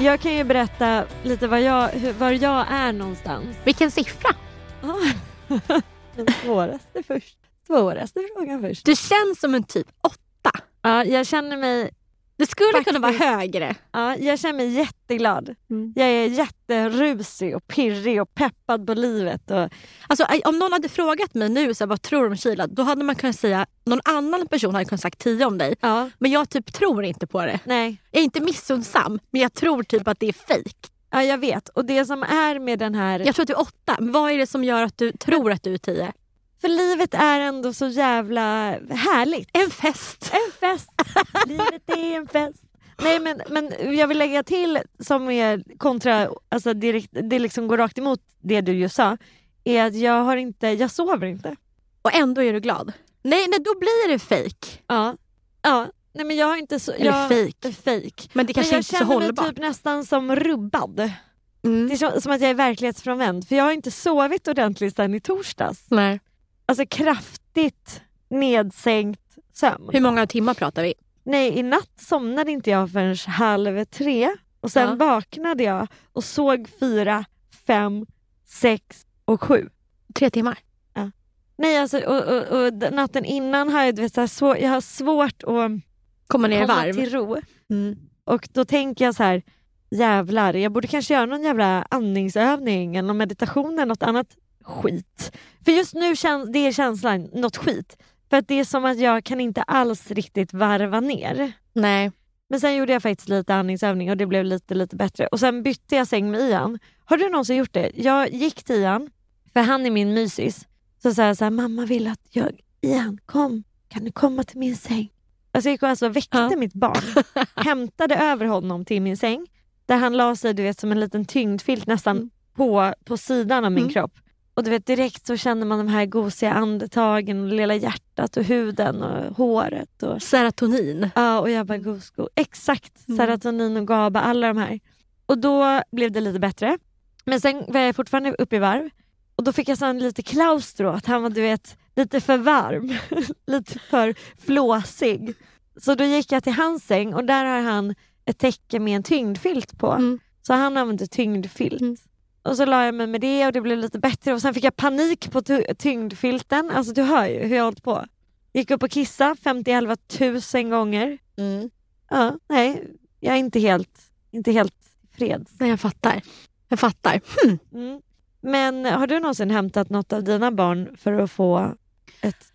jag kan ju berätta lite var jag, hur- var jag är någonstans. Vilken siffra? Ah, Den svåraste först. Svåraste frågan först. Du känns som en typ åtta. Ja, jag känner mig Du skulle kunna vara Faktiskt. högre. Ja, jag känner mig jätteglad. Mm. Jag är jätterusig och pirrig och peppad på livet. Och, Alltså, eh, om någon hade frågat mig nu så här, vad tror du om Kila? Då hade man kunnat säga någon annan person hade kunnat sagt tio om dig. ja, Men jag typ tror inte på det. nej. Jag är inte missundsam men jag tror typ att det är fejk. Ja, jag vet. Och det som är med den här... Jag tror att du är åtta. Men vad är det som gör att du tror att du är tio? För livet är ändå så jävla härligt. En fest. En fest! livet är en fest. Nej, men, men jag vill lägga till som är kontra, alltså direkt, det liksom går rakt emot det du just sa, är att jag, har inte, jag sover inte. Och ändå är du glad. Nej, nej då blir det fejk. Ja. ja. Nej, men jag har inte så... Eller jag, fejk. Fake. Men det kanske men jag inte är så känner mig hållbart. typ nästan som rubbad. Mm. Det är så, som att jag är verklighetsfrånvänd. För jag har inte sovit ordentligt sedan i torsdags. Nej. Alltså kraftigt nedsänkt sömn. Hur många timmar pratar vi? Nej, i natt somnade inte jag förrän halv tre. Och sen Ja. vaknade jag och såg fyra, fem, sex och sju. Tre timmar. Nej, alltså, och, och, och d- natten innan har jag, du vet, så här, svår, jag har svårt att Kommer ner i komma varv. till ro. Mm. Och då tänker jag så här, jävlar, jag borde kanske göra någon jävla andningsövning eller någon meditation eller något annat skit. För just nu känns det är känslan, något skit. För att det är som att jag kan inte alls riktigt varva ner. Nej. Men sen gjorde jag faktiskt lite andningsövning och det blev lite, lite bättre. Och sen bytte jag säng med Ian. Har du någonsin gjort det? Jag gick till Ian, för han är min mysis. Så sa jag så här, mamma vill att jag, Ian kom, kan du komma till min säng? Alltså jag gick och alltså väckte Ja. mitt barn, hämtade över honom till min säng. Där han la sig du vet, som en liten tyngdfilt nästan Mm. på, på sidan av min Mm. kropp. Och du vet direkt så känner man de här gosiga andetagen, och lilla hjärtat och huden och håret. Och... Serotonin. Ja, och jag bara Gosko. Exakt, Mm. Serotonin och GABA, alla de här. Och då blev det lite bättre. Men sen var jag fortfarande uppe i varv och då fick jag sån lite klaustro, att han var du vet, lite för varm, lite för flåsig. Så då gick jag till hans säng och där har han ett täcke med en tyngdfilt på. Mm. Så han använde tyngdfilt. Mm. Och så la jag mig med det och det blev lite bättre och sen fick jag panik på ty- tyngdfilten. Alltså du hör ju hur jag har hållit på. Gick upp och kissade 50-11 000 gånger. Mm. Ja, nej, jag är inte helt, inte helt freds. Nej, jag fattar. Jag fattar. Mm. Men har du någonsin hämtat något av dina barn för att få ett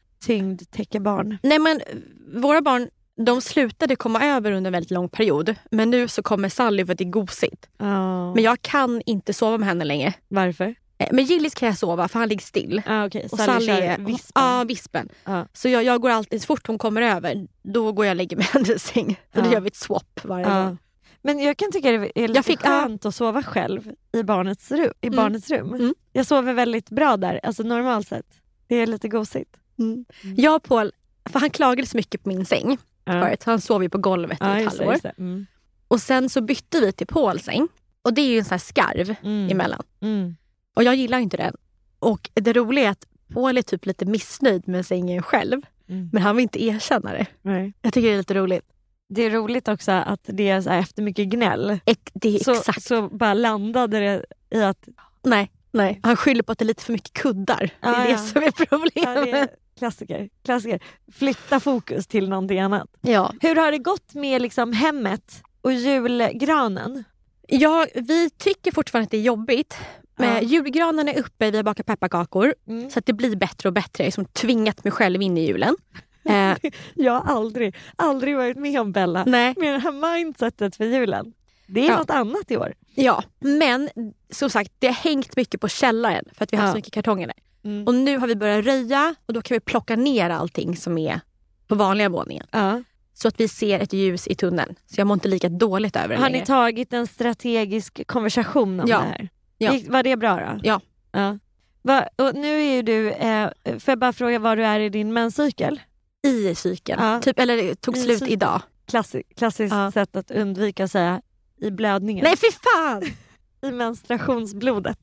tyngdtäckebarn? Nej, men eh, våra barn de slutade komma över under en väldigt lång period. Men nu så kommer Sally för att det är gosigt. Ja. Men jag kan inte sova med henne längre. Varför? Eh, Med Gillis kan jag sova för han ligger still. Ah, Okej, Och Sally, Sally, kör är vispan. Ja, vispen. Ja. Så jag, jag går alltid, så fort hon kommer över, då går jag och lägger mig i hennes säng. Så Ja. då gör vi ett swap varje Ja. dag. Men jag kan tycka det är lite Jag fick- ja. skönt att sova själv i barnets rum. I Mm. barnets rum. Mm. Jag sover väldigt bra där, alltså normalt sett. Det är lite gosigt. Mm. Jag och Paul, för han klagade så mycket på min säng Ja, förut. Han sov ju på golvet i ja ett just det. halvår. Just det. Mm. Och sen så bytte vi till Pauls säng. Och det är ju en sån här skarv Mm. emellan. Mm. Och jag gillar inte den. Och det roliga är att Paul är typ lite missnöjd med sängen själv. Mm. Men han vill inte erkänna det. Nej. Jag tycker det är lite roligt. Det är roligt också att det är så här efter mycket gnäll Ex- det är så, exakt. så bara landade det i att Nej, nej. Han skyller på att det är lite för mycket kuddar. det Ja, är det Ah, ja. som är ja, det är problemet. klassiker, klassiker. Flytta fokus till någonting annat. Ja. Hur har det gått med liksom hemmet och julgranen? Ja, vi tycker fortfarande att det är jobbigt. Men Ja. Julgranen är uppe, vi har bakat pepparkakor. Mm. Så att det blir bättre och bättre. Jag har liksom tvingat mig själv in i julen. Eh, Jag har aldrig, aldrig varit med om Bella nej, med det här mindsetet för julen. Det är Ja. något annat i år. ja. Men som sagt, det har hängt mycket på källaren för att vi har haft Ja. så mycket kartonger där. Mm. Och nu har vi börjat röja och då kan vi plocka ner allting som är på vanliga våningen. Ja. Så att vi ser ett ljus i tunneln. Så jag mår inte lika dåligt över det Har ni längre. tagit en strategisk konversation om Ja. det här? Ja. Gick- Var det bra då? Ja. ja. Va, och nu är ju du, eh, får jag bara fråga var du är i din menscykel? I cykeln. Ja. Typ, eller det tog I slut cykeln. idag. Klassi- klassiskt Ja. sätt att undvika att säga i blödningen. Nej fy fan! I menstruationsblodet.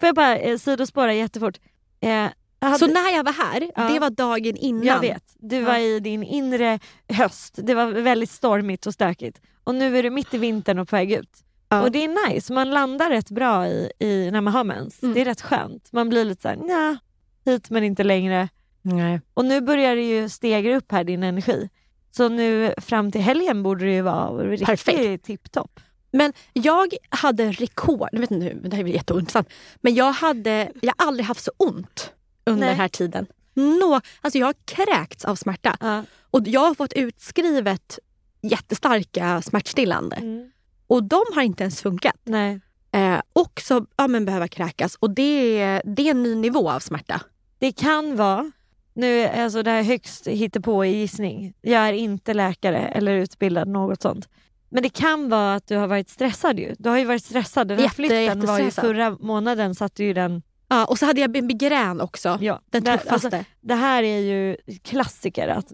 Får jag bara eh, sidospåra jättefort. Eh, Jag hade- Så när jag var här, Ja. det var dagen innan. Jag vet, du var i din inre höst. Det var väldigt stormigt och stökigt. Och nu är du mitt i vintern och på väg ut. Ja. Och det är nice, man landar rätt bra i, i när man har mens. Mm. Det är rätt skönt. Man blir lite såhär, nja, hit men inte längre. Nej. Och nu börjar det ju stegra upp här din energi. Så nu fram till helgen borde det ju vara riktigt Perfekt. tipptopp. Men jag hade rekord, jag vet inte hur, det här blir jätteointressant. Men jag hade, jag har aldrig haft så ont under Nej. den här tiden. Nå, alltså jag har kräkts av smärta. Ja. Och jag har fått utskrivet jättestarka smärtstillande. Mm. Och de har inte ens funkat. Nej. Eh, och så ja, men behöva kräkas. Och det, är- det är en ny nivå av smärta. Det kan vara, nu är alltså det här högst hittepå i gissning. Jag är inte läkare eller utbildad något sånt. Men det kan vara att du har varit stressad ju. Du har ju varit stressad. Den här Jätte- flytten var ju jättestressad. förra månaden satte ju den... Ja, och så hade jag migrän också. Ja, Den där- tuffaste. alltså, det här är ju klassiker att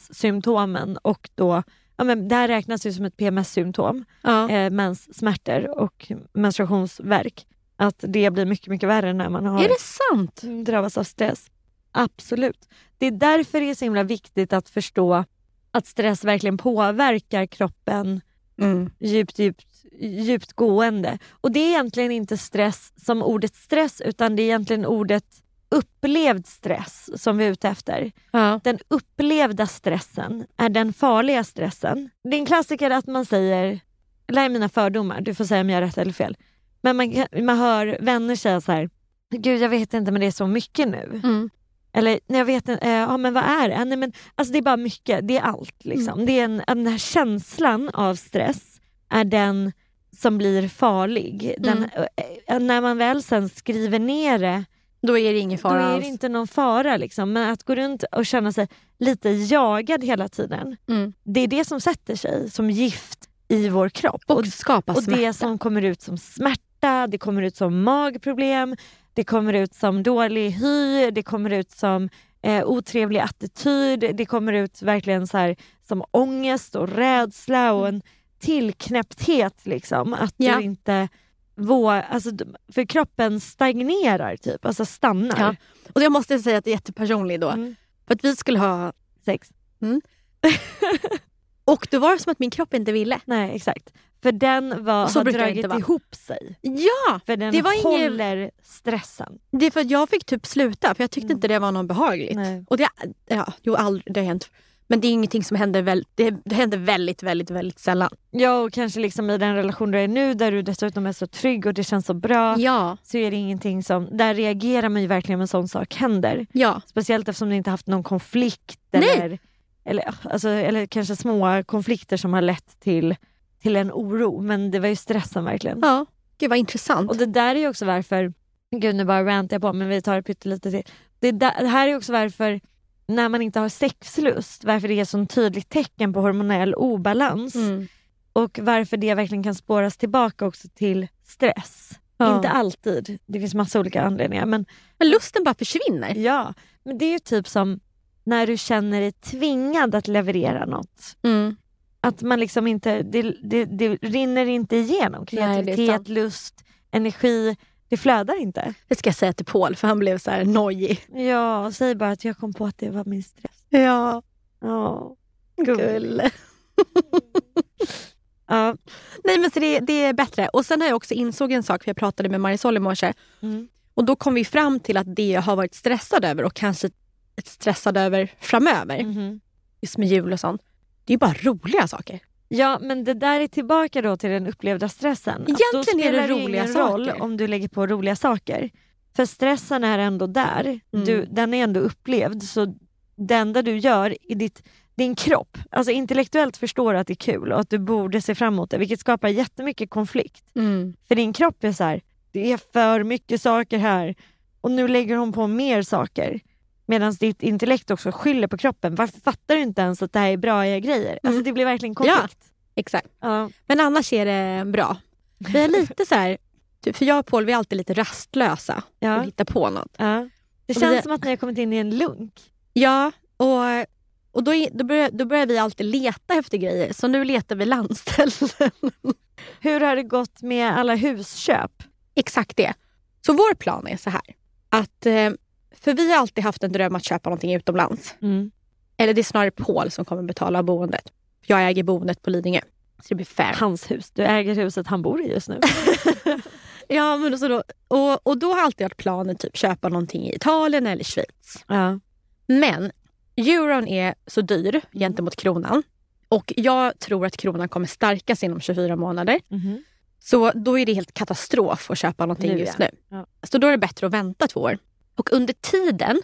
PMS-symptomen och då, ja men det här räknas ju som ett PMS-symptom. ja. Eh, menssmärtor och menstruationsvärk. Att det blir mycket, mycket värre när man har Är det sant? drabbas av stress. Absolut. Det är därför det är så himla viktigt att förstå att stress verkligen påverkar kroppen Mm. djupt, djupt, djupt gående. Och det är egentligen inte stress som ordet stress utan det är egentligen ordet upplevd stress som vi är ute efter. Ja. Den upplevda stressen är den farliga stressen. Det är en klassiker att man säger, det här är mina fördomar, du får säga om jag har rätt eller fel. Men man, kan- man hör vänner säga så här, gud jag vet inte men det är så mycket nu. Mm. Eller nej, jag vet inte, eh, ja, men vad är det? Nej, men, alltså, det är bara mycket, det är allt. Mm. Liksom. Det är en, den här känslan av stress är den som blir farlig. Den, Mm. eh, eh, när man väl sen skriver ner det, Då är det ingen då fara är alls. det inte någon fara. Liksom. Men att gå runt och känna sig lite jagad hela tiden, Mm. det är det som sätter sig som gift i vår kropp. Och, skapa Och smärta. det som kommer ut som smärta, det kommer ut som magproblem, det kommer ut som dålig hy, det kommer ut som eh, otrevlig attityd, det kommer ut verkligen så här, som ångest och rädsla och en tillknäppthet. Liksom, att Ja. du inte vå, alltså, d- för kroppen stagnerar typ, alltså stannar. Ja. Och jag måste säga att det är jättepersonligt då. Mm. För att vi skulle ha... Sex. Och då var det som att min kropp inte ville. Nej exakt. För den var, Och så har brukar det dragit inte vara. ihop sig. Ja! För den Det var ingen- håller stressen. Det är för att jag fick typ sluta för jag tyckte Mm. inte det var någon behagligt. Nej. Och det, ja, jo, aldrig, det har hänt. Men det är ingenting som händer, väl, det, det händer väldigt, väldigt, väldigt sällan. Ja och kanske liksom i den relation du är nu där du dessutom är så trygg och det känns så bra. Ja. Så är det ingenting som, där reagerar man ju verkligen om en sån sak händer. ja. Speciellt eftersom du inte haft någon konflikt. Nej. Eller, eller, ja, alltså, eller kanske små konflikter som har lett till, till en oro. Men det var ju stressen verkligen. Ja, gud vad intressant. Och det där är ju också varför, gud nu bara rantar jag på men vi tar det pyttelite till. Det, där, det här är ju också varför när man inte har sexlust, varför det är ett sånt tydligt tecken på hormonell obalans. Mm. Och varför det verkligen kan spåras tillbaka också till stress. Ja. Inte alltid, det finns massa olika anledningar. Men, Men lusten bara försvinner. ja. men det är ju typ som när du känner dig tvingad att leverera något. Mm. Att man liksom inte, det, det, det rinner inte igenom. det är Kreativitet, sant. lust, energi. Det flödar inte. Det ska jag säga till Paul för han blev så här nojig. Ja, säg bara att jag kom på att det var min stress. Ja, Ja, gullig. gull. Ja. Nej men så det, det är bättre. Och sen har jag också insåg en sak för jag pratade med Marisol i morse. Mm. Och då kom vi fram till att det jag har varit stressad över och kanske stressad över framöver, Mhm. just med jul och sånt. Det är bara roliga saker. Ja men det där är tillbaka då till den upplevda stressen. Att då Egentligen är det spelar ju roliga ingen roll saker. om du lägger på roliga saker. För stressen är ändå där. Mm. Du, den är ändå upplevd. Så det enda du gör i ditt, din kropp, alltså intellektuellt förstår du att det är kul och att du borde se fram emot det. Vilket skapar jättemycket konflikt. Mm. För din kropp är så här, det är för mycket saker här och nu lägger hon på mer saker. Medan ditt intellekt också skyller på kroppen. Varför fattar du inte ens att det här är bra grejer? Alltså Mm. det blir verkligen konflikt. Exakt. Ja. Men annars är det bra. Vi är lite så här, typ, för jag och Paul vi är alltid lite rastlösa och Ja. hittar på något. Ja. Det Och känns det- som att ni har kommit in i en lunk. Ja, och, och då, är- då, börjar, då börjar vi alltid leta efter grejer. Så nu letar vi landställen. Hur har det gått med alla husköp? Exakt det. Så vår plan är så här. Att eh, För vi har alltid haft en dröm att köpa någonting utomlands. Mm. Eller det är snarare Paul som kommer betala boendet. Jag äger boendet på Lidingö. Så det blir fair. Hans hus. Du äger huset han bor i just nu. Ja, men så då, och, och då har alltid varit planen typ köpa någonting i Italien eller Schweiz. ja. Men euron är så dyr gentemot kronan. Och jag tror att kronan kommer stärkas inom 24 månader. Mhm. Så då är det helt katastrof att köpa någonting Nu, just ja. nu. Ja. Så då är det bättre att vänta två år. Och under tiden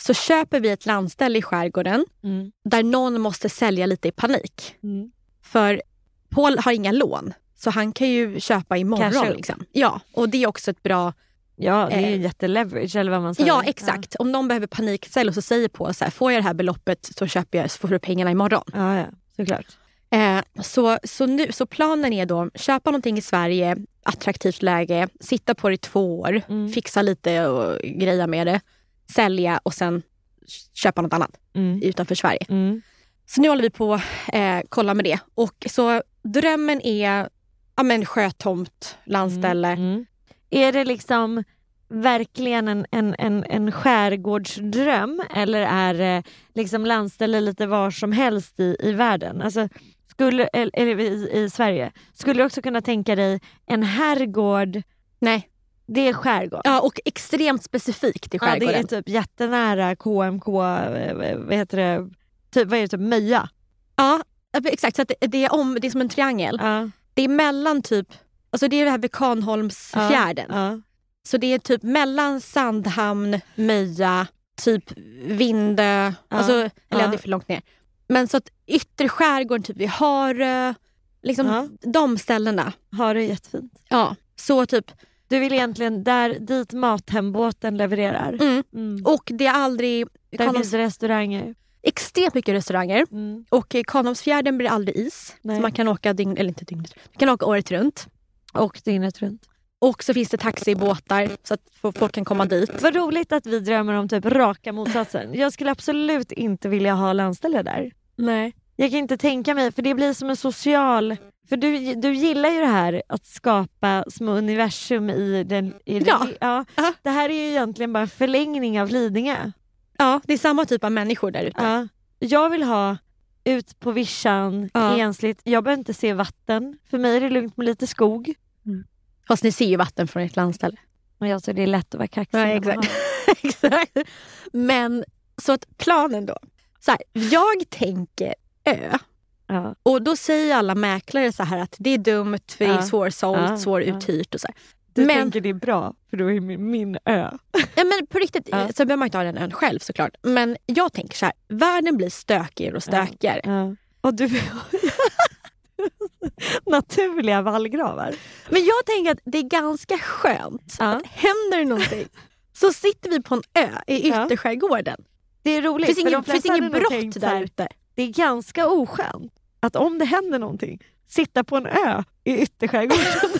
så köper vi ett landställe i skärgården Mm. där någon måste sälja lite i panik. Mm. För Paul har inga lån. Så han kan ju köpa Casha imorgon. upp. Liksom. Ja, och det är också ett bra Ja, det är ju Eh. jätteleverage eller vad man säger. Ja, exakt. Om någon behöver paniksälja så säger på så här, får jag det här beloppet så köper jag så får du pengarna imorgon. Ja, ja, ja. såklart. Eh, så, så, nu, så planen är då köpa någonting i Sverige, attraktivt läge, sitta på det i två år, Mm. fixa lite och greja med det, sälja och sen köpa något annat Mm. utanför Sverige. Mm. Så nu håller vi på eh, kolla med det. Och så drömmen är ja, men, sjötomt, landställe. Mm. Är det liksom verkligen en, en, en, en skärgårdsdröm eller är det liksom landställe lite var som helst i, i världen? Alltså, skulle, eller, eller i, i Sverige. Skulle du också kunna tänka dig en herrgård, Nej. det är skärgård? Ja, och extremt specifikt i Ja, skärgården. det är typ jättenära KMK, eh, vad heter det, typ, vad är det, typ Möja? Ja, exakt. Så att det- det, är om, det är som en triangel. Ja, Det är mellan typ, alltså det är det här Vekanholmsfjärden. ja. Så det är typ mellan Sandhamn, Möja, typ Vindö. Ja. Alltså, eller ja. Ja. det är för långt ner. Men så att yttre skärgården, typ vid Harö. Liksom Ja. de ställena. Har det jättefint. Ja, så typ. Du vill egentligen där dit Mathembåten levererar. Mm. Mm. Och det är aldrig... Där Kanholms- finns det restauranger. extremt mycket restauranger. Mm. Och eh, Kanholmsfjärden blir aldrig is. Nej. Så man kan åka dygn, eller inte dygnet, man kan åka året runt. Och dygnet runt. Och så finns det taxibåtar så att folk folk kan komma dit. Vad roligt att vi drömmer om typ raka motsatsen. Jag skulle absolut inte vilja ha landställe där. Nej. Jag kan inte tänka mig, för det blir som en social... För du, du gillar ju det här att skapa små universum i den... I Ja. Den, ja. Ja. Det här är ju egentligen bara en förlängning av Lidingö. Ja, det är samma typ av människor där ute. Ja. Jag vill ha ut på vischan, Ja. ensligt. Jag behöver inte se vatten. För mig är det lugnt med lite skog. Fast ni ser ju vatten från ert landställe. Men jag tror det är lätt att vara kaxig. Ja, när man exakt. har det. Exakt. Men så att planen då. Så här, jag tänker ö. Ja. Och då säger alla mäklare så här att det är dumt för det Ja. är svårsålt, Ja, svåruthyrt och så här. Du Men- tänker det är bra, för då är min, min ö. Ja, men på riktigt Ja. så behöver man inte ha den ön själv såklart. Men jag tänker så här, världen blir stökigare och stökigare. Och du Naturliga vallgravar. Men jag tänker att det är ganska skönt Ja. att händer det någonting så sitter vi på en ö i Ja. ytterskärgården. Det är Det roligt. finns för de ingen, flesta finns ingen hade nog brott tänkt så där här, ute. Det är ganska oskönt att om det händer någonting, sitta på en ö i ytterskärgården.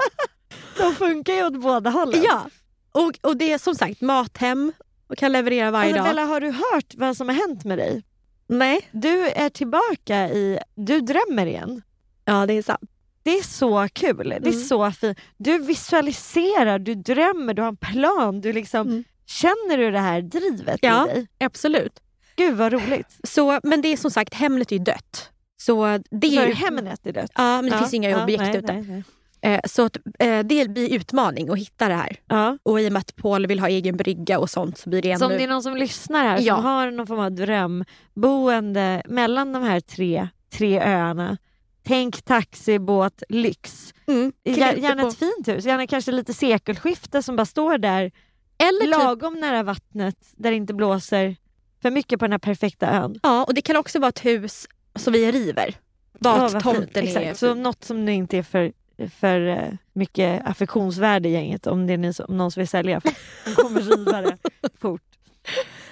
de funkar ju åt båda hållen. Ja. Och, och det är som sagt mathem och kan leverera varje Alltså, dag. Bella, har du hört vad som har hänt med dig? Nej. Du är tillbaka i... Du drömmer igen. Ja, det är sant. Det är så kul. Det är Mm. så fint. Du visualiserar, du drömmer, du har en plan. Du liksom, Mm. Känner du det här drivet Ja. i dig? Absolut. Gud vad roligt. Så, men det är som sagt, Hemnet är ju dött. Så det För är ju... Hemnet är dött. Ja, men det Ja, finns inga ja, objekt nej, ute. nej, nej. Eh, Så att, eh, det blir utmaning att hitta det här. Ja. Och i och med att Paul vill ha egen brygga och sånt så blir det Så om ännu... det är någon som lyssnar här Ehm, Ja. som har någon form av drömboende mellan de här tre, tre öarna. Tänk taxi, båt, lyx. Mm. Gär, Klipp gärna på- ett fint hus, gärna kanske lite sekelskifte som bara står där Eller typ lagom nära vattnet där det inte blåser för mycket på den här perfekta ön. Ja, och det kan också vara ett hus som vi river. Bara Ja, att vad tomten fint. är... Exakt. Så något som nu inte är för, för eh, mycket affektionsvärde i gänget om det är ni som, om någon som vill sälja. för De kommer riva det fort.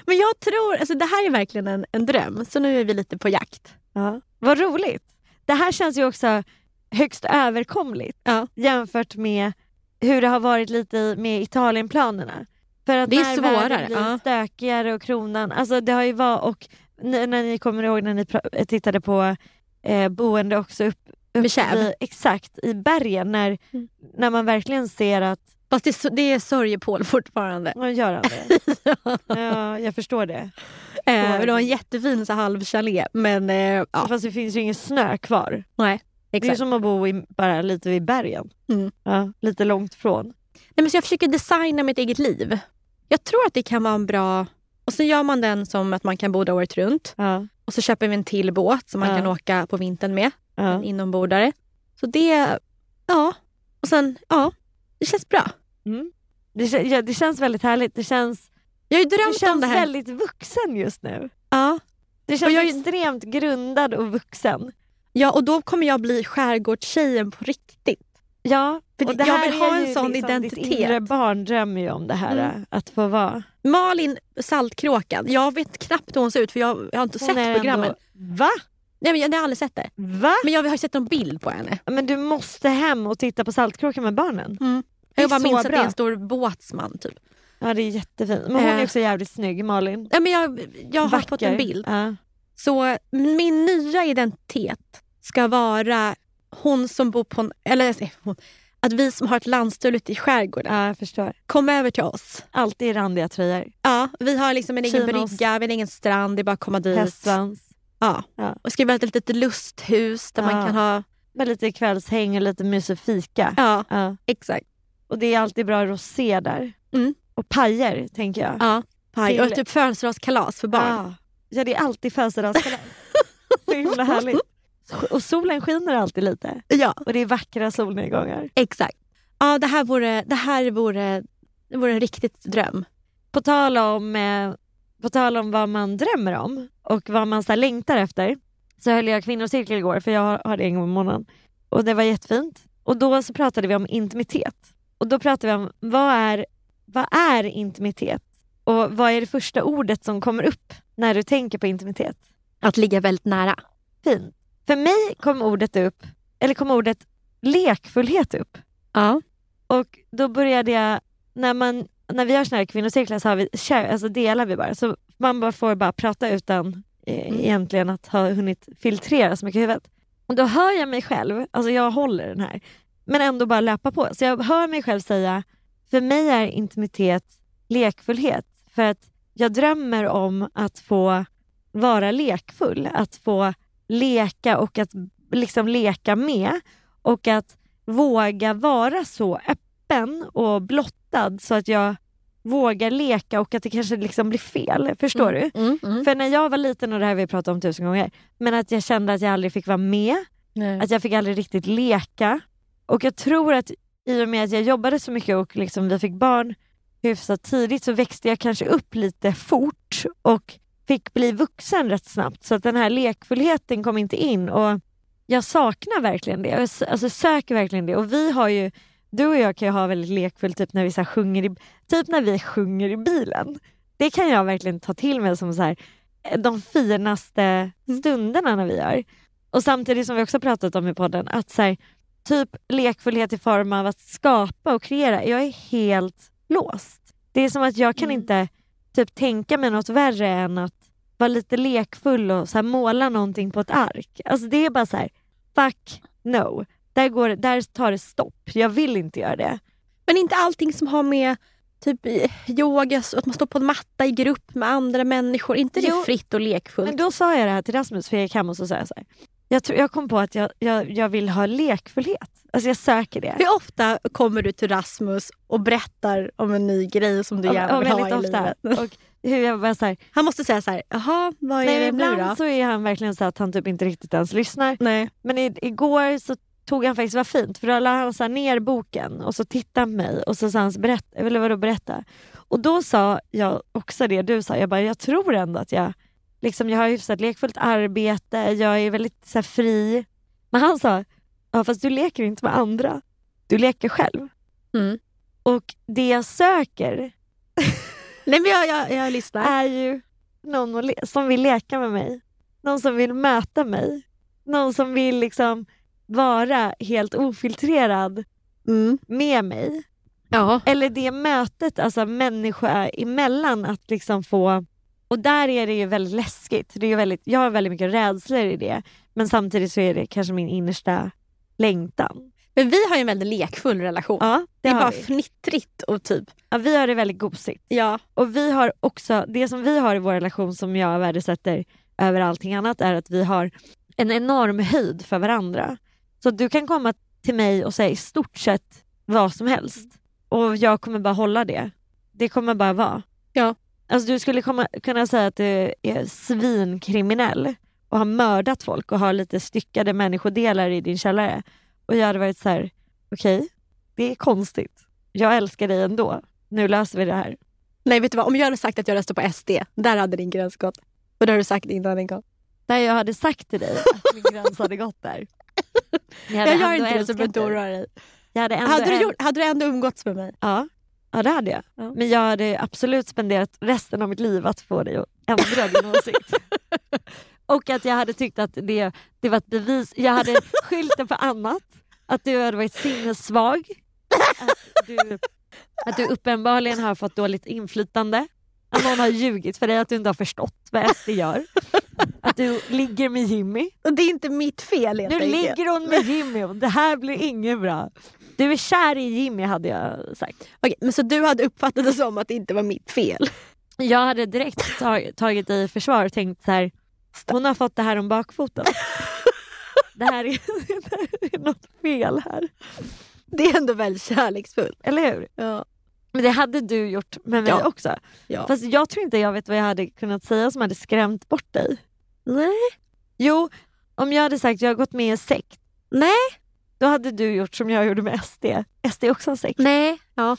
Men jag tror, alltså det här är verkligen en, en dröm, så nu är vi lite på jakt. Ja. Vad roligt. Det här känns ju också högst överkomligt Ja. jämfört med hur det har varit lite i- med Italienplanerna. För att Det är när svårare, världen blir ja. stökigare och kronan, alltså det har ju varit och ni, när ni kommer ihåg när ni pra- tittade på eh, boende också upp, upp Med Kärv. exakt i bergen när, Mm. när man verkligen ser att Fast det, är så- det är sörjepål fortfarande. Ja, gör han det? ja, jag förstår det. Eh, men det var en jättefin så här halvchalé. Men eh, ja, Fast det finns ju ingen snö kvar. nej. Det är ju Exakt. som att bo i, bara lite vid bergen. Mm. Ja, lite långt från. Nej, men så jag försöker designa mitt eget liv. Jag tror att det kan vara en bra... Och sen gör man den som att man kan bo där året runt. Ja, Och så köper vi en till båt som man Ja. kan åka på vintern med. En ja. inombordare. Så det... Ja. Och sen, ja. Det känns bra. Det, kän- ja, det känns väldigt härligt. Det känns, Jag har ju drömt det känns om det här. väldigt vuxen just nu. Ja. Det Och känns jag är- extremt grundad och vuxen. ja, och då kommer jag bli skärgårdstjejen på riktigt. Ja, För och det- jag vill är ha en ju liksom sån Ditt identitet. inre barn drömmer ju om det här, Mm. att få vara. Malin Saltkråkan. Jag vet knappt hur hon ser ut för jag, jag har inte Hon är sett programmen. Ändå... Ah. Va? Nej, men jag, jag har aldrig sett det. Va? Men jag har ju sett någon bild på henne. Men du måste hem och titta på Saltkråkan med barnen. Det är Jag bara så minns att det är bra. en stor båtsman. Typ. Ja, det är jättefint. Men hon är Eh. också jävligt snygg, Malin. Nej, men jag jag har Vacker. fått en bild. Ja. Så min nya identitet ska vara hon som bor på en... Eller jag säger hon. Att vi som har ett landställe ute i skärgården, ja, jag förstår. kom över till oss. Alltid i randiga tröjor. Ja, vi har liksom en egen Kinos. brygga, vi har en egen strand, det är bara att komma dit. Hästsvans. Ja. Ja. Och ska vi ha ett litet lusthus där Ja. man kan ha... Med lite kvällshäng och lite mysig fika. Ja, Ja. exakt. Och det är alltid bra rosé där. Mm. Och pajer tänker jag. Ja. Till- Och typ födelsedagskalas för barn. Ja. Ja, det är alltid födelsedagskalas. Så himla härligt. Och solen skiner alltid lite. Ja, Och det är vackra solnedgångar. exakt. Ja, det här vore, det här vore, det vore en riktigt dröm. På tal om, eh, på tal om vad man drömmer om och vad man så här, längtar efter så höll jag kvinnocirkel igår för jag har, har det en gång i månaden. Och det var jättefint. Och då så pratade vi om intimitet. Och då pratade vi om vad är, vad är intimitet? Och vad är det första ordet som kommer upp när du tänker på intimitet? Att ligga väldigt nära. Fint. För mig kom ordet upp, eller kom ordet lekfullhet upp. Ja. Och då började jag, när, man, när vi har såna här kvinnocirklar så har vi, share, alltså delar vi bara. Så man bara får bara prata utan eh, Mm. egentligen att ha hunnit filtrera så mycket i huvudet. Och då hör jag mig själv, alltså jag håller den här, men ändå bara löpa på. Så jag hör mig själv säga, för mig är intimitet lekfullhet. För att jag drömmer om att få vara lekfull, att få leka och att liksom leka med och att våga vara så öppen och blottad så att jag vågar leka och att det kanske liksom blir fel. Förstår du? Mm, mm. För när jag var liten, och det här har vi pratat om tusen gånger, men att jag kände att jag aldrig fick vara med, Nej. att jag fick aldrig riktigt leka. Och jag tror att i och med att jag jobbade så mycket och liksom vi fick barn hyfsat tidigt så växte jag kanske upp lite fort och fick bli vuxen rätt snabbt. Så att den här lekfullheten kom inte in. Och jag saknar verkligen det. Jag s- alltså söker verkligen det. Och vi har ju, du och jag kan ju ha väldigt lekfullt typ när vi så här sjunger i, typ när vi sjunger i bilen. Det kan jag verkligen ta till mig som så här, eh, de finaste stunderna när vi gör. Och samtidigt som vi också pratat om i podden att så här, typ lekfullhet i form av att skapa och kreera. Jag är helt låst. Det är som att jag kan Mm. inte typ tänka mig något värre än att vara lite lekfull och så här, måla någonting på ett ark. Alltså det är bara så här, fuck no. Där, går, där tar det stopp. Jag vill inte göra det. Men inte allting som har med typ i- yoga, så att man står på en matta i grupp med andra människor. Inte det Jo. fritt och lekfullt? Men då sa jag det här till Rasmus för jag gick hem och så sa jag så här. Jag, tror, jag kom på att jag, jag, jag vill ha lekfullhet. Alltså jag söker det. Hur ofta kommer du till Rasmus och berättar om en ny grej som du Ja, gärna ja, vill ha i väldigt ofta. livet? Och hur jag bara så här, Han måste säga så här, jaha, vad är nej, men det nu ibland då? så är han verkligen så att han typ inte riktigt ens lyssnar. Nej. Men i, igår så tog han faktiskt, vad fint, för då la han så här ner boken och så tittade han på mig och så sa han, så, berätta, eller vadå berätta? Och då sa jag också det du sa, jag bara, jag tror ändå att jag, liksom, jag har hyfsat lekfullt arbete, jag är väldigt så här, fri. Men han sa, ja fast du leker inte med andra, du leker själv. Mm. Och det jag söker Nej men jag, jag, jag är lyssnar. ju någon att le- som vill leka med mig. Någon som vill möta mig. Någon som vill liksom vara helt ofiltrerad Mm. med mig. Ja. Eller det mötet alltså människa emellan att liksom få... Och där är det ju väldigt läskigt. Det är ju väldigt, jag har väldigt mycket rädslor i det. Men samtidigt så är det kanske min innersta längtan. Men vi har ju en väldigt lekfull relation. Ja, det är har bara vi. fnittrigt och typ... Ja, vi har det väldigt gosigt. Ja. Och vi har också, det som vi har i vår relation som jag värdesätter över allting annat är att vi har en enorm höjd för varandra. Så att du kan komma till mig och säga i stort sett vad som helst och jag kommer bara hålla det. Det kommer bara vara. Ja. Alltså du skulle komma, kunna säga att du är svinkriminell och har mördat folk och har lite styckade människodelar i din källare och jag hade varit så här: okej, det är konstigt. Jag älskar dig ändå. Nu löser vi det här. Nej, vet du vad? Om jag hade sagt att jag röstar på SD, där hade din gräns gått. Och det har du sagt innan en gång. Nej jag hade sagt till dig att min gräns hade gått där. Jag, hade Jag gör ändå inte det så älskat behöver du inte dig. oroa dig. Jag hade ändå Hade du, äl- gjort, hade du ändå umgåtts med mig? Ja. ja det hade jag. Ja. Men jag hade absolut spenderat resten av mitt liv att få dig att ändra din åsikt. Och att jag hade tyckt att det, det var ett bevis. Jag hade skyllt det på annat. Att du hade varit sinnessvag. Att du, att du uppenbarligen har fått dåligt inflytande. Att någon har ljugit för dig, att du inte har förstått vad SD gör. Att du ligger med Jimmy. Och det är inte mitt fel helt Nu enkelt. ligger hon med Jimmy och det här blir inget bra. Du är kär i Jimmy hade jag sagt. Okej, men så du hade uppfattat det som att det inte var mitt fel? Jag hade direkt tag- tagit dig i försvar och tänkt så här. hon har fått det här om bakfoten. Det här är, det här är något fel här. Det är ändå väldigt kärleksfullt. Eller hur? Ja. Men det hade du gjort med mig Ja. också. Ja. Fast jag tror inte jag vet vad jag hade kunnat säga som hade skrämt bort dig. Nej. Jo, om jag hade sagt jag har gått med i en sekt. Nej. Då hade du gjort som jag gjorde med SD. SD är också en sekt. Nej. Ja.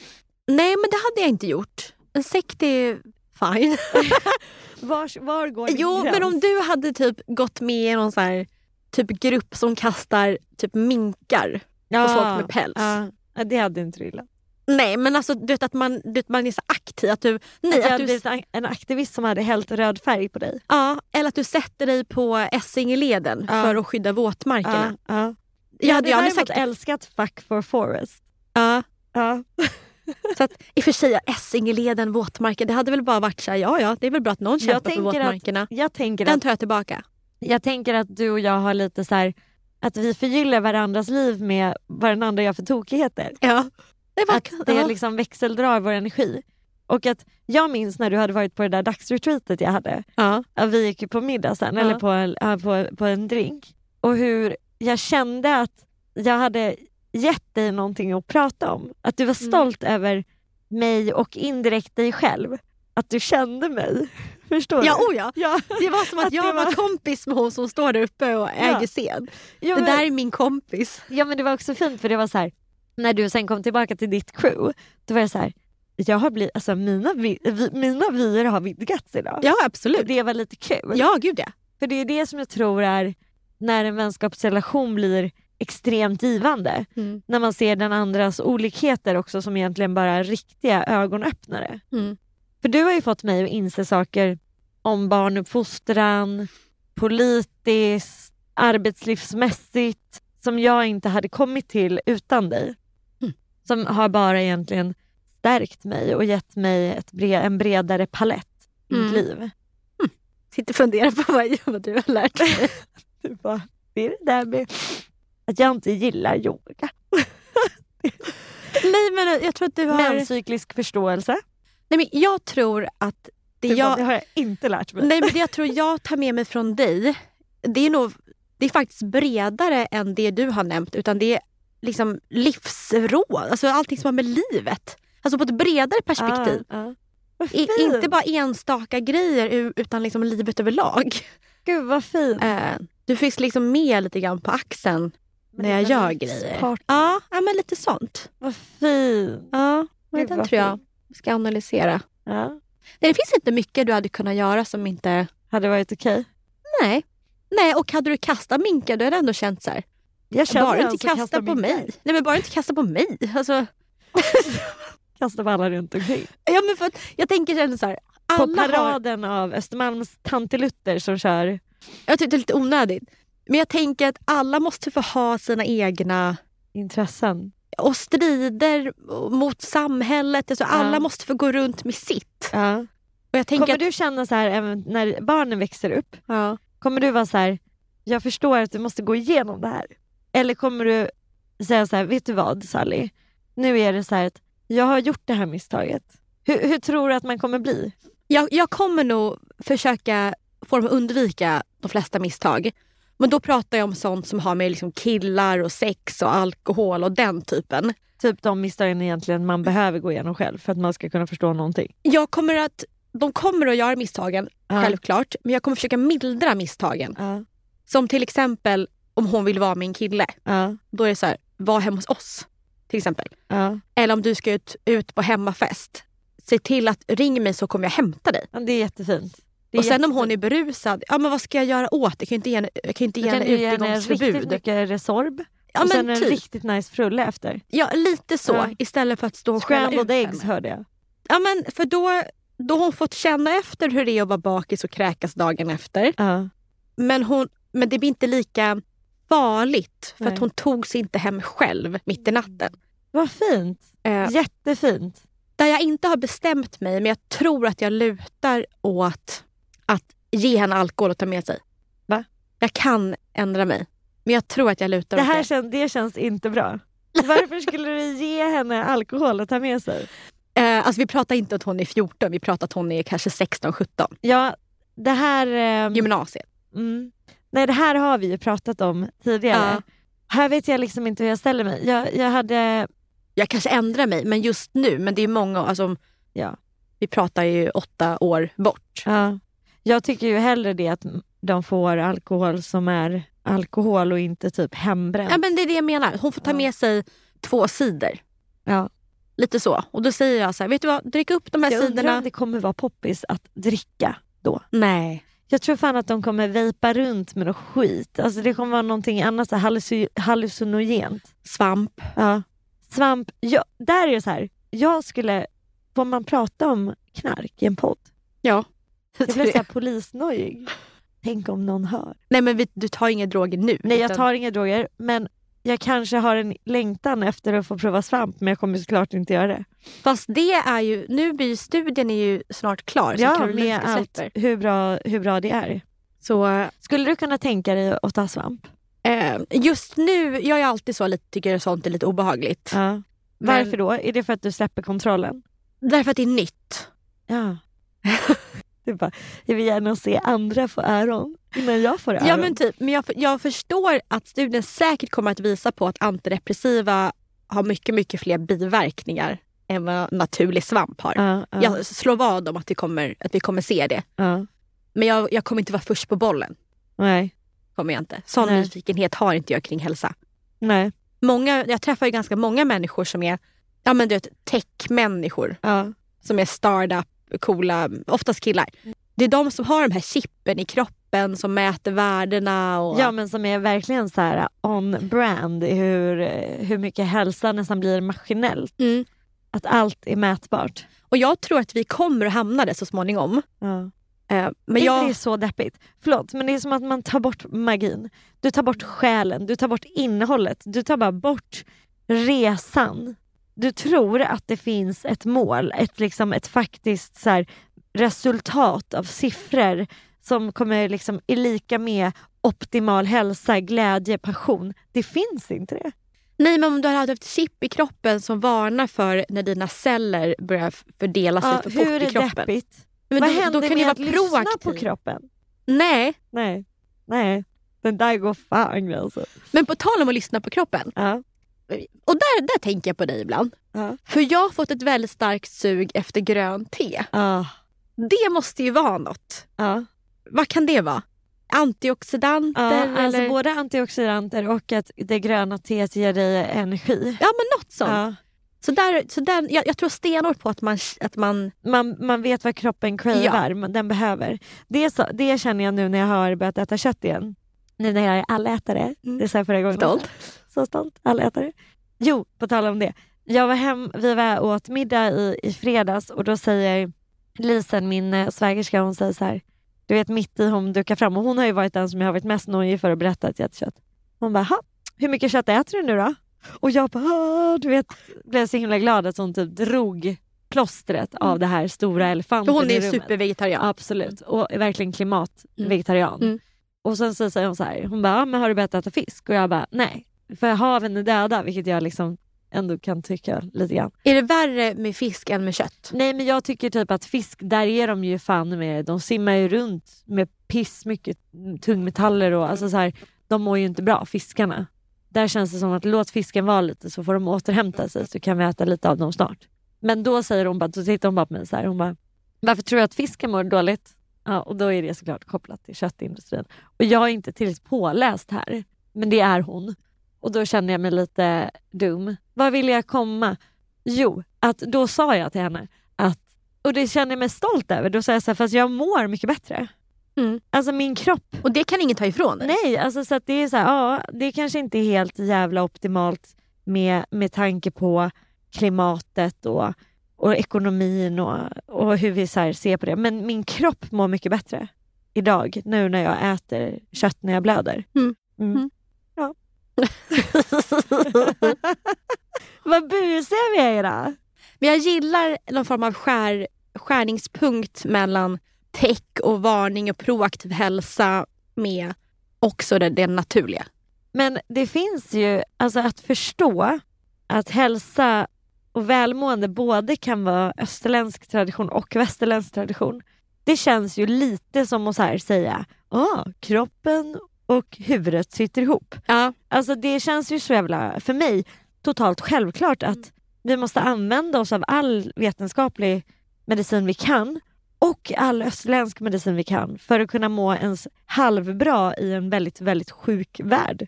Nej, men det hade jag inte gjort. En sekt är fine. Var, var går din Jo, gräns? men om du hade typ gått med i någon så här typ grupp som kastar typ minkar på folk med päls. Ja, ja, det hade inte du gillat. Nej, men alltså du vet att man, du vet, man är så aktiv. Att du, nej, Att jag att hade du, blivit en- en aktivist som hade hällt röd färg på dig. ja, eller att du sätter dig på Essingeleden Ja. för att skydda våtmarkerna. Ja, ja. Jag hade ju däremot aldrig sagt älskat Fuck for Forest. ja. Ja. Så att, I och för sig, ja, Essingeleden, våtmarker. Det hade väl bara varit så här, ja ja, det är väl bra att någon kämpar för tänker att- våtmarkerna. Jag, tänker Den att, tar jag tillbaka. jag tänker att du och jag har lite så här att vi förgyller varandras liv med vad den andra gör för tokigheter. Ja. Det var, Att det liksom växeldrar vår energi. Och att jag minns när du hade varit på det där dagsretreatet jag hade. ja. ja, vi gick ju på middag sen, Ja. eller på, en- ja, på, på en drink. Och hur jag kände att jag hade gett dig någonting att prata om. Att du var Mm. stolt över mig och indirekt dig själv. Att du kände mig. Förstår Ja, du? oh ja. Ja, Det var som att, Att det jag var... var- kompis med hon som står där uppe och äger scen. jo, Det men, där är min kompis. ja, men det var också fint för det var så här. när du sen kom tillbaka till ditt crew, då var jag så här, jag har blivit, alltså mina, vi, vi, mina vyer har vidgats idag. Ja, Och absolut. det var lite kul. Ja, gud ja. För det är det som jag tror är när en vänskapsrelation blir extremt givande. Mm. När man ser den andras olikheter också som egentligen bara är riktiga ögonöppnare. Mm. För du har ju fått mig att inse saker om barnuppfostran, politiskt, arbetslivsmässigt som jag inte hade kommit till utan dig. Mm. Som har bara egentligen stärkt mig och gett mig ett bre- en bredare palett i mitt Mm. liv. Sitter och funderar på vad, vad du har lärt dig. Du bara, det är det där med att jag inte gillar yoga. Nej, men jag tror att du har... Men cyklisk förståelse, Nej, men jag tror att det du bara, jag... det har jag inte lärt mig. Nej, men det jag tror jag tar med mig från dig, det är nog det är faktiskt bredare än det du har nämnt. Utan det är liksom livsråd, alltså allting som har med livet. Alltså på ett bredare perspektiv. Ah, ah. Vad I, fint. inte bara enstaka grejer u- utan liksom livet överlag. Gud vad fint. Eh, du finns liksom med lite grann på axeln när jag gör grejer. Ja, ja, men lite sånt. Vad fint. Ja, men Gud, den vad tror jag fint. ska analysera. Ja. Nej, det finns inte mycket du hade kunnat göra som inte... Hade varit okej. Nej. Nej, och hade du kastat minkar då hade jag ändå känt så här. Jag känner bara du en inte som kasta, kastar på minkar. mig. Nej men bara du inte kasta på mig. Alltså, Kastar på alla runt omkring. ja, men för att, jag tänker ändå så här. På Alla har, paraden av Östermalms tantelutter som kör. jag tycker typ, det är lite onödigt. Men jag tänker att alla måste få ha sina egna Intressen. och strider mot samhället. Alltså, alla Ja. måste få gå runt med sitt. Ja. Och jag tänker Kommer att, du känna så här även när barnen växer upp? ja. Kommer du vara så här, jag förstår att du måste gå igenom det här? Eller kommer du säga så här, vet du vad Sally? Nu är det så här att jag har gjort det här misstaget. Hur, hur tror du att man kommer bli? Jag, jag kommer nog försöka få dem att undvika de flesta misstag. Men då pratar jag om sånt som har med liksom killar och sex och alkohol och den typen. Typ de misstagen egentligen man behöver gå igenom själv för att man ska kunna förstå någonting. Jag kommer att, de kommer att göra misstagen, Ja. självklart. Men jag kommer försöka mildra misstagen. Ja, Som till exempel om hon vill vara min kille. ja, Då är det så här, var hemma hos oss. Till exempel. ja. Eller om du ska ut, ut på hemmafest. Se till att ring mig så kommer jag hämta dig. Ja, Det är jättefint. Det är Och sen om hon är berusad, ja men vad ska jag göra åt det? Jag kan ju inte ge henne, jag kan ju inte jättefint. ge henne Du kan ge henne utegångsförbud. riktigt mycket Resorb ja, och sen men en typ. riktigt nice frulle efter. ja, lite så. Ja. Istället för att stå och skälla ut Scrambled eggs henne. hörde jag. Ja, men för då, då har hon fått känna efter hur det är att vara bakis och kräkas dagen efter. Ja. Men, hon, men det blir inte lika farligt för Nej. Mm. att hon tog sig inte hem själv mitt i natten. Vad fint. Eh, Jättefint. Där jag inte har bestämt mig, men jag tror att jag lutar åt att ge henne alkohol och ta med sig. Va? Jag kan ändra mig, men jag tror att jag lutar Det åt här det. kän, det känns inte bra. Varför skulle du ge henne alkohol att ta med sig? Eh, alltså vi pratar inte att hon är 14, vi pratar att hon är kanske 16-17. Ja, det här... ehm, Gymnasiet. Mm. Nej, det här har vi ju pratat om tidigare. Ja. Här vet jag liksom inte hur jag ställer mig. Jag, jag hade... Jag kanske ändrar mig, men just nu, men det är många, alltså, Ja. vi pratar ju åtta år bort. Ja, jag tycker ju hellre det att de får alkohol som är alkohol och inte typ hembränt. Ja, men det är det jag menar, hon får ta Ja. med sig två sidor. Ja. Lite så. Och då säger jag så här, vet du vad, drick upp de här jag undrar sidorna. om det kommer vara poppis att dricka då. Nej. Jag tror fan att de kommer vejpa runt med något skit. Alltså det kommer vara någonting annat, så här halluci- hallucinogent. Svamp. Ja. Svamp. Ja, där är det så här. Jag skulle... Får man prata om knark i en podd? Ja. Jag blev så här polisnojig. Tänk om någon hör. Nej men vi, du tar inga droger nu. Nej, jag utan- tar inga droger, men jag kanske har en längtan efter att få prova svamp, men jag kommer såklart inte göra det. Fast det är ju, nu blir ju studien är ju snart klar. så Ja, Karolinska med allt, släpper. hur bra, hur bra det är. Så Skulle du kunna tänka dig att ta svamp? eh, just nu, jag är alltid så lite, tycker sånt är lite obehagligt. Ja. Men- Varför då? Är det för att du släpper kontrollen? Därför att det är nytt. Ja. du bara, jag vill gärna se andra få öron innan jag får öron. Ja men typ, men jag, jag förstår att studien säkert kommer att visa på att antidepressiva har mycket, mycket fler biverkningar än vad naturlig svamp har. ja, ja, Jag slår vad om att vi kommer, att vi kommer se det. ja. Men jag, jag kommer inte vara först på bollen. Nej. Kommer jag inte. Sån Nej. nyfikenhet har inte jag kring hälsa. Nej. Många, jag träffar ju ganska många människor som är ja, men du vet, tech-människor. Ja. Som är startup, coola, oftast killar. Det är de som har de här chippen i kroppen som mäter värdena. Och, Ja men som är verkligen så här on brand i hur, eh, hur mycket hälsa nästan blir maskinellt. Mm. Att allt är mätbart. och jag tror att vi kommer att hamna där så småningom. Ja. Eh, men Men jag... Det är jag, så deppigt. Förlåt men det är som att man tar bort magin. Du tar bort själen, du tar bort innehållet, du tar bara bort resan. Du tror att det finns ett mål, ett, liksom, ett faktiskt så här, resultat av siffror som kommer liksom, är lika med optimal hälsa, glädje, passion. Det finns inte det. nej men om du hade haft ett chip i kroppen som varnar för när dina celler börjar f- fördela sig Ja, Alltså, för fort hur i är kroppen. deppigt? Men Vad då, händer då med kan du vara att lyssna proaktiv. på kroppen? Nej, Nej, nej. Den där går fan gränsen. men på tal om att lyssna på kroppen. Ja. Och där, där tänker jag på dig ibland. Ja. För jag har fått ett väldigt starkt sug efter grönt te. Ja. Det måste ju vara något. Ja. Vad kan det vara? Antioxidanter? Ja, eller? alltså både antioxidanter och att det gröna teet ger dig energi. ja men något sånt. Ja. Så där, så där, jag, jag tror stenhårt på att man... Att man Man, man vet vad kroppen kräver, men den behöver. Det, är så, det känner jag nu när jag har börjat äta kött igen. Nu när jag är allätare. Mm. Det sa jag förra gången. Stolt. Så stolt, allätare. Jo, på tal om det. Jag var hem, vi var åt middag i, i fredags och då säger Lisen, min eh, svägerska, hon säger så här. Du vet mitt i hon dukar fram och hon har ju varit den som jag har varit mest nojig för att berätta att jag äter kött. Hon bara, "Ha, hur mycket kött äter du nu då? Och jag bara, "Ah", du vet, blev så himla glad att hon typ drog plåstret av det här stora Mm. för elefanten hon i är rummet. supervegetarian. Absolut, och är verkligen klimatvegetarian. Mm. Mm. "Ah, Och sen så säger hon så här, hon bara, "Ja, men har du börjat äta fisk? Och jag bara, nej. För haven är döda, vilket jag liksom ändå kan tycka lite grann. Är det värre med fisk än med kött? Nej men jag tycker typ att fisk, där är de ju fan med, de simmar ju runt med piss mycket mm, tungmetaller och alltså så här, de mår ju inte bra, fiskarna. Där känns det som att låt fisken vara lite så får de återhämta sig så kan vi äta lite av dem snart. Men då säger hon bara, då tittar hon bara på mig så här, hon bara, varför tror du att fisken mår dåligt? Ja, och då är det såklart kopplat till köttindustrin. Och jag är inte tillräckligt påläst här, men det är hon. Och då känner jag mig lite dum. Var vill jag komma? Jo, att då sa jag till henne att, och det känner jag mig stolt över, då sa jag så här, fast jag mår mycket bättre. Mm. Alltså min kropp. Och det kan ingen ta ifrån dig. Nej, alltså så att det är så här, ja, det är kanske inte är helt jävla optimalt med, med tanke på klimatet och, och ekonomin och, och hur vi så här ser på det. Men min kropp mår mycket bättre idag, nu när jag äter kött när jag blöder. Mm. Mm. Mm. Ja. Vad busiga vi är idag. Men jag gillar någon form av skär, skärningspunkt mellan tech och varning och proaktiv hälsa med också det, det naturliga. Men det finns ju, alltså att förstå att hälsa och välmående både kan vara österländsk tradition och västerländsk tradition. Det känns ju lite som att så här säga, ah, kroppen och huvudet sitter ihop. Ja. Alltså det känns ju så jävla, för mig, totalt självklart att vi måste använda oss av all vetenskaplig medicin vi kan och all österländsk medicin vi kan för att kunna må ens halvbra i en väldigt, väldigt sjuk värld.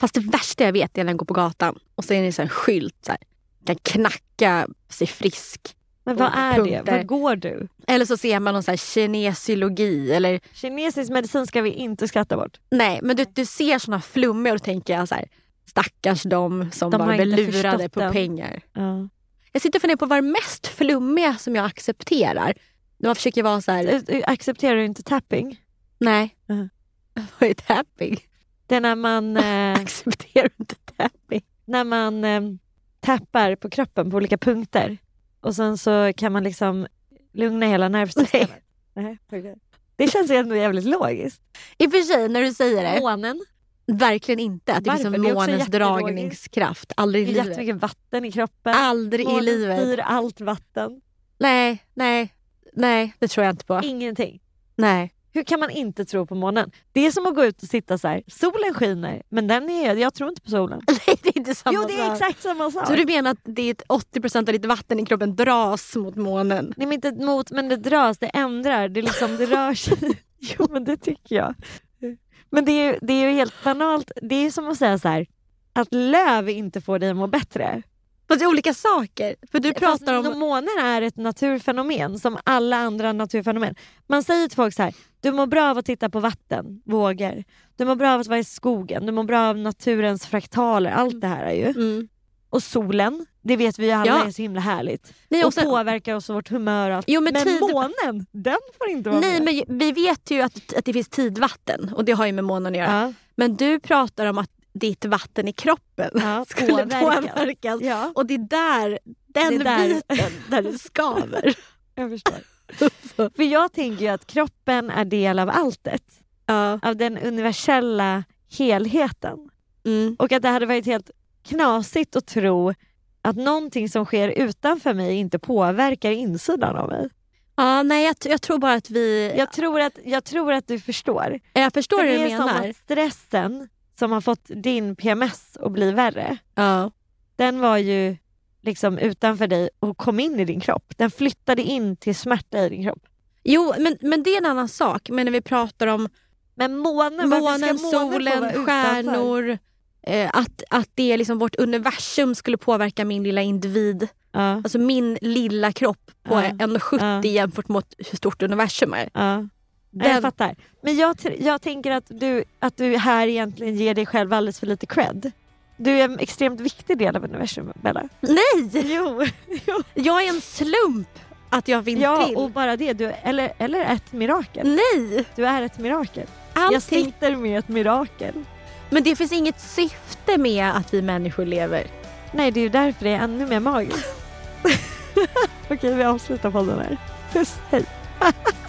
Fast det värsta jag vet är när jag går på gatan och så är det så här en skylt. Så här. Kan knacka sig frisk. Men vad Och är det? punkter. Var går du? Eller så ser man någon så här kinesiologi. Eller, Kinesisk medicin ska vi inte skratta bort. nej, men du, du ser såna flummiga och då tänker jag så här. Stackars de som De har bara inte blir lurade förstått på den. pengar. Ja. Jag sitter och funderar på vad det mest flummiga som jag accepterar. När man försöker vara så här, Eh, Accepterar du inte tapping? nej. Mhm. Vad är tapping? Det är när man, eh, Accepterar du inte tapping? när man eh, tappar på kroppen på olika punkter och sen så kan man liksom lugna hela nervsystemet. Nej. okej. Det känns ju ändå jävligt logiskt. I och för sig, när du säger det, Månen, verkligen inte. Att det finns Varför? en Det är också månens jättelogiskt. dragningskraft. det Aldrig är i livet. jättemycket vatten i kroppen. Aldrig i Månen livet. styr allt vatten. Nej, nej, nej. Det tror jag inte på. Ingenting. Nej. Hur kan man inte tro på månen? Det är som att gå ut och sitta så här. solen skiner men den är, jag tror inte på solen. nej, det är inte samma Jo det är sak. exakt samma sak. Så du menar att ditt 80 av ditt vatten i kroppen dras mot månen? Nej men inte mot, men det dras, det ändrar, det, liksom, det rör sig. jo men det tycker jag. Men det är, ju- det är ju helt banalt, det är ju som att säga så här. Att löv inte får dig att må bättre. Fast det är olika saker. För du pratar om... Fast Månen är ett naturfenomen som alla andra naturfenomen. Man säger till folk så här, du mår bra av att titta på vatten, vågor. Du mår bra av att vara i skogen, du mår bra av naturens fraktaler. Allt det här är ju. Mm. Och solen, det vet vi ju alla Ja. är så himla härligt. Nej, och och sen- påverkar oss och vårt humör och allt. Jo, men tid- månen, den får inte vara Nej med. men ju- vi vet ju att, att det finns tidvatten och det har ju med månen att göra. Ja, Men du pratar om att ditt vatten i kroppen ja, skulle påverkas. påverkas. Ja, Och det är där, den Det är där- biten där det skaver. jag förstår. För jag tänker ju att kroppen är del av alltet. ja. Av den universella helheten. Mm. Och att det hade varit helt knasigt att tro att någonting som sker utanför mig inte påverkar insidan av mig. ja nej jag, t- jag tror bara att vi... Jag, Jag tror att, jag tror att du förstår. förstår För hur det du är som menar. att stressen som har fått din PMS att bli värre, Ja. den var ju liksom utanför dig och kom in i din kropp. Den flyttade in till smärta i din kropp. Jo men, men det är en annan sak. Men när vi pratar om Men månen, varför ska månen, månen få solen, vara utanför? stjärnor. Eh, att, att det är liksom vårt universum skulle påverka min lilla individ. Ja, Alltså min lilla kropp på Ja. 1,70 Ja. jämfört mot hur stort universum är. ja. Nej, Den- Jag fattar. Men jag, tr- jag tänker att du, att du här egentligen ger dig själv alldeles för lite cred. Du är en extremt viktig del av universum, Bella. Nej! Jo, Jag är en slump att jag finns ja, till. och bara det. Du, eller, eller ett mirakel. Nej! Du är ett mirakel. Jag Allting. sitter med ett mirakel. Men det finns inget syfte med att vi människor lever. Nej, det är ju därför det är ännu mer magiskt. Okej, vi avslutar podden här. Puss, hej.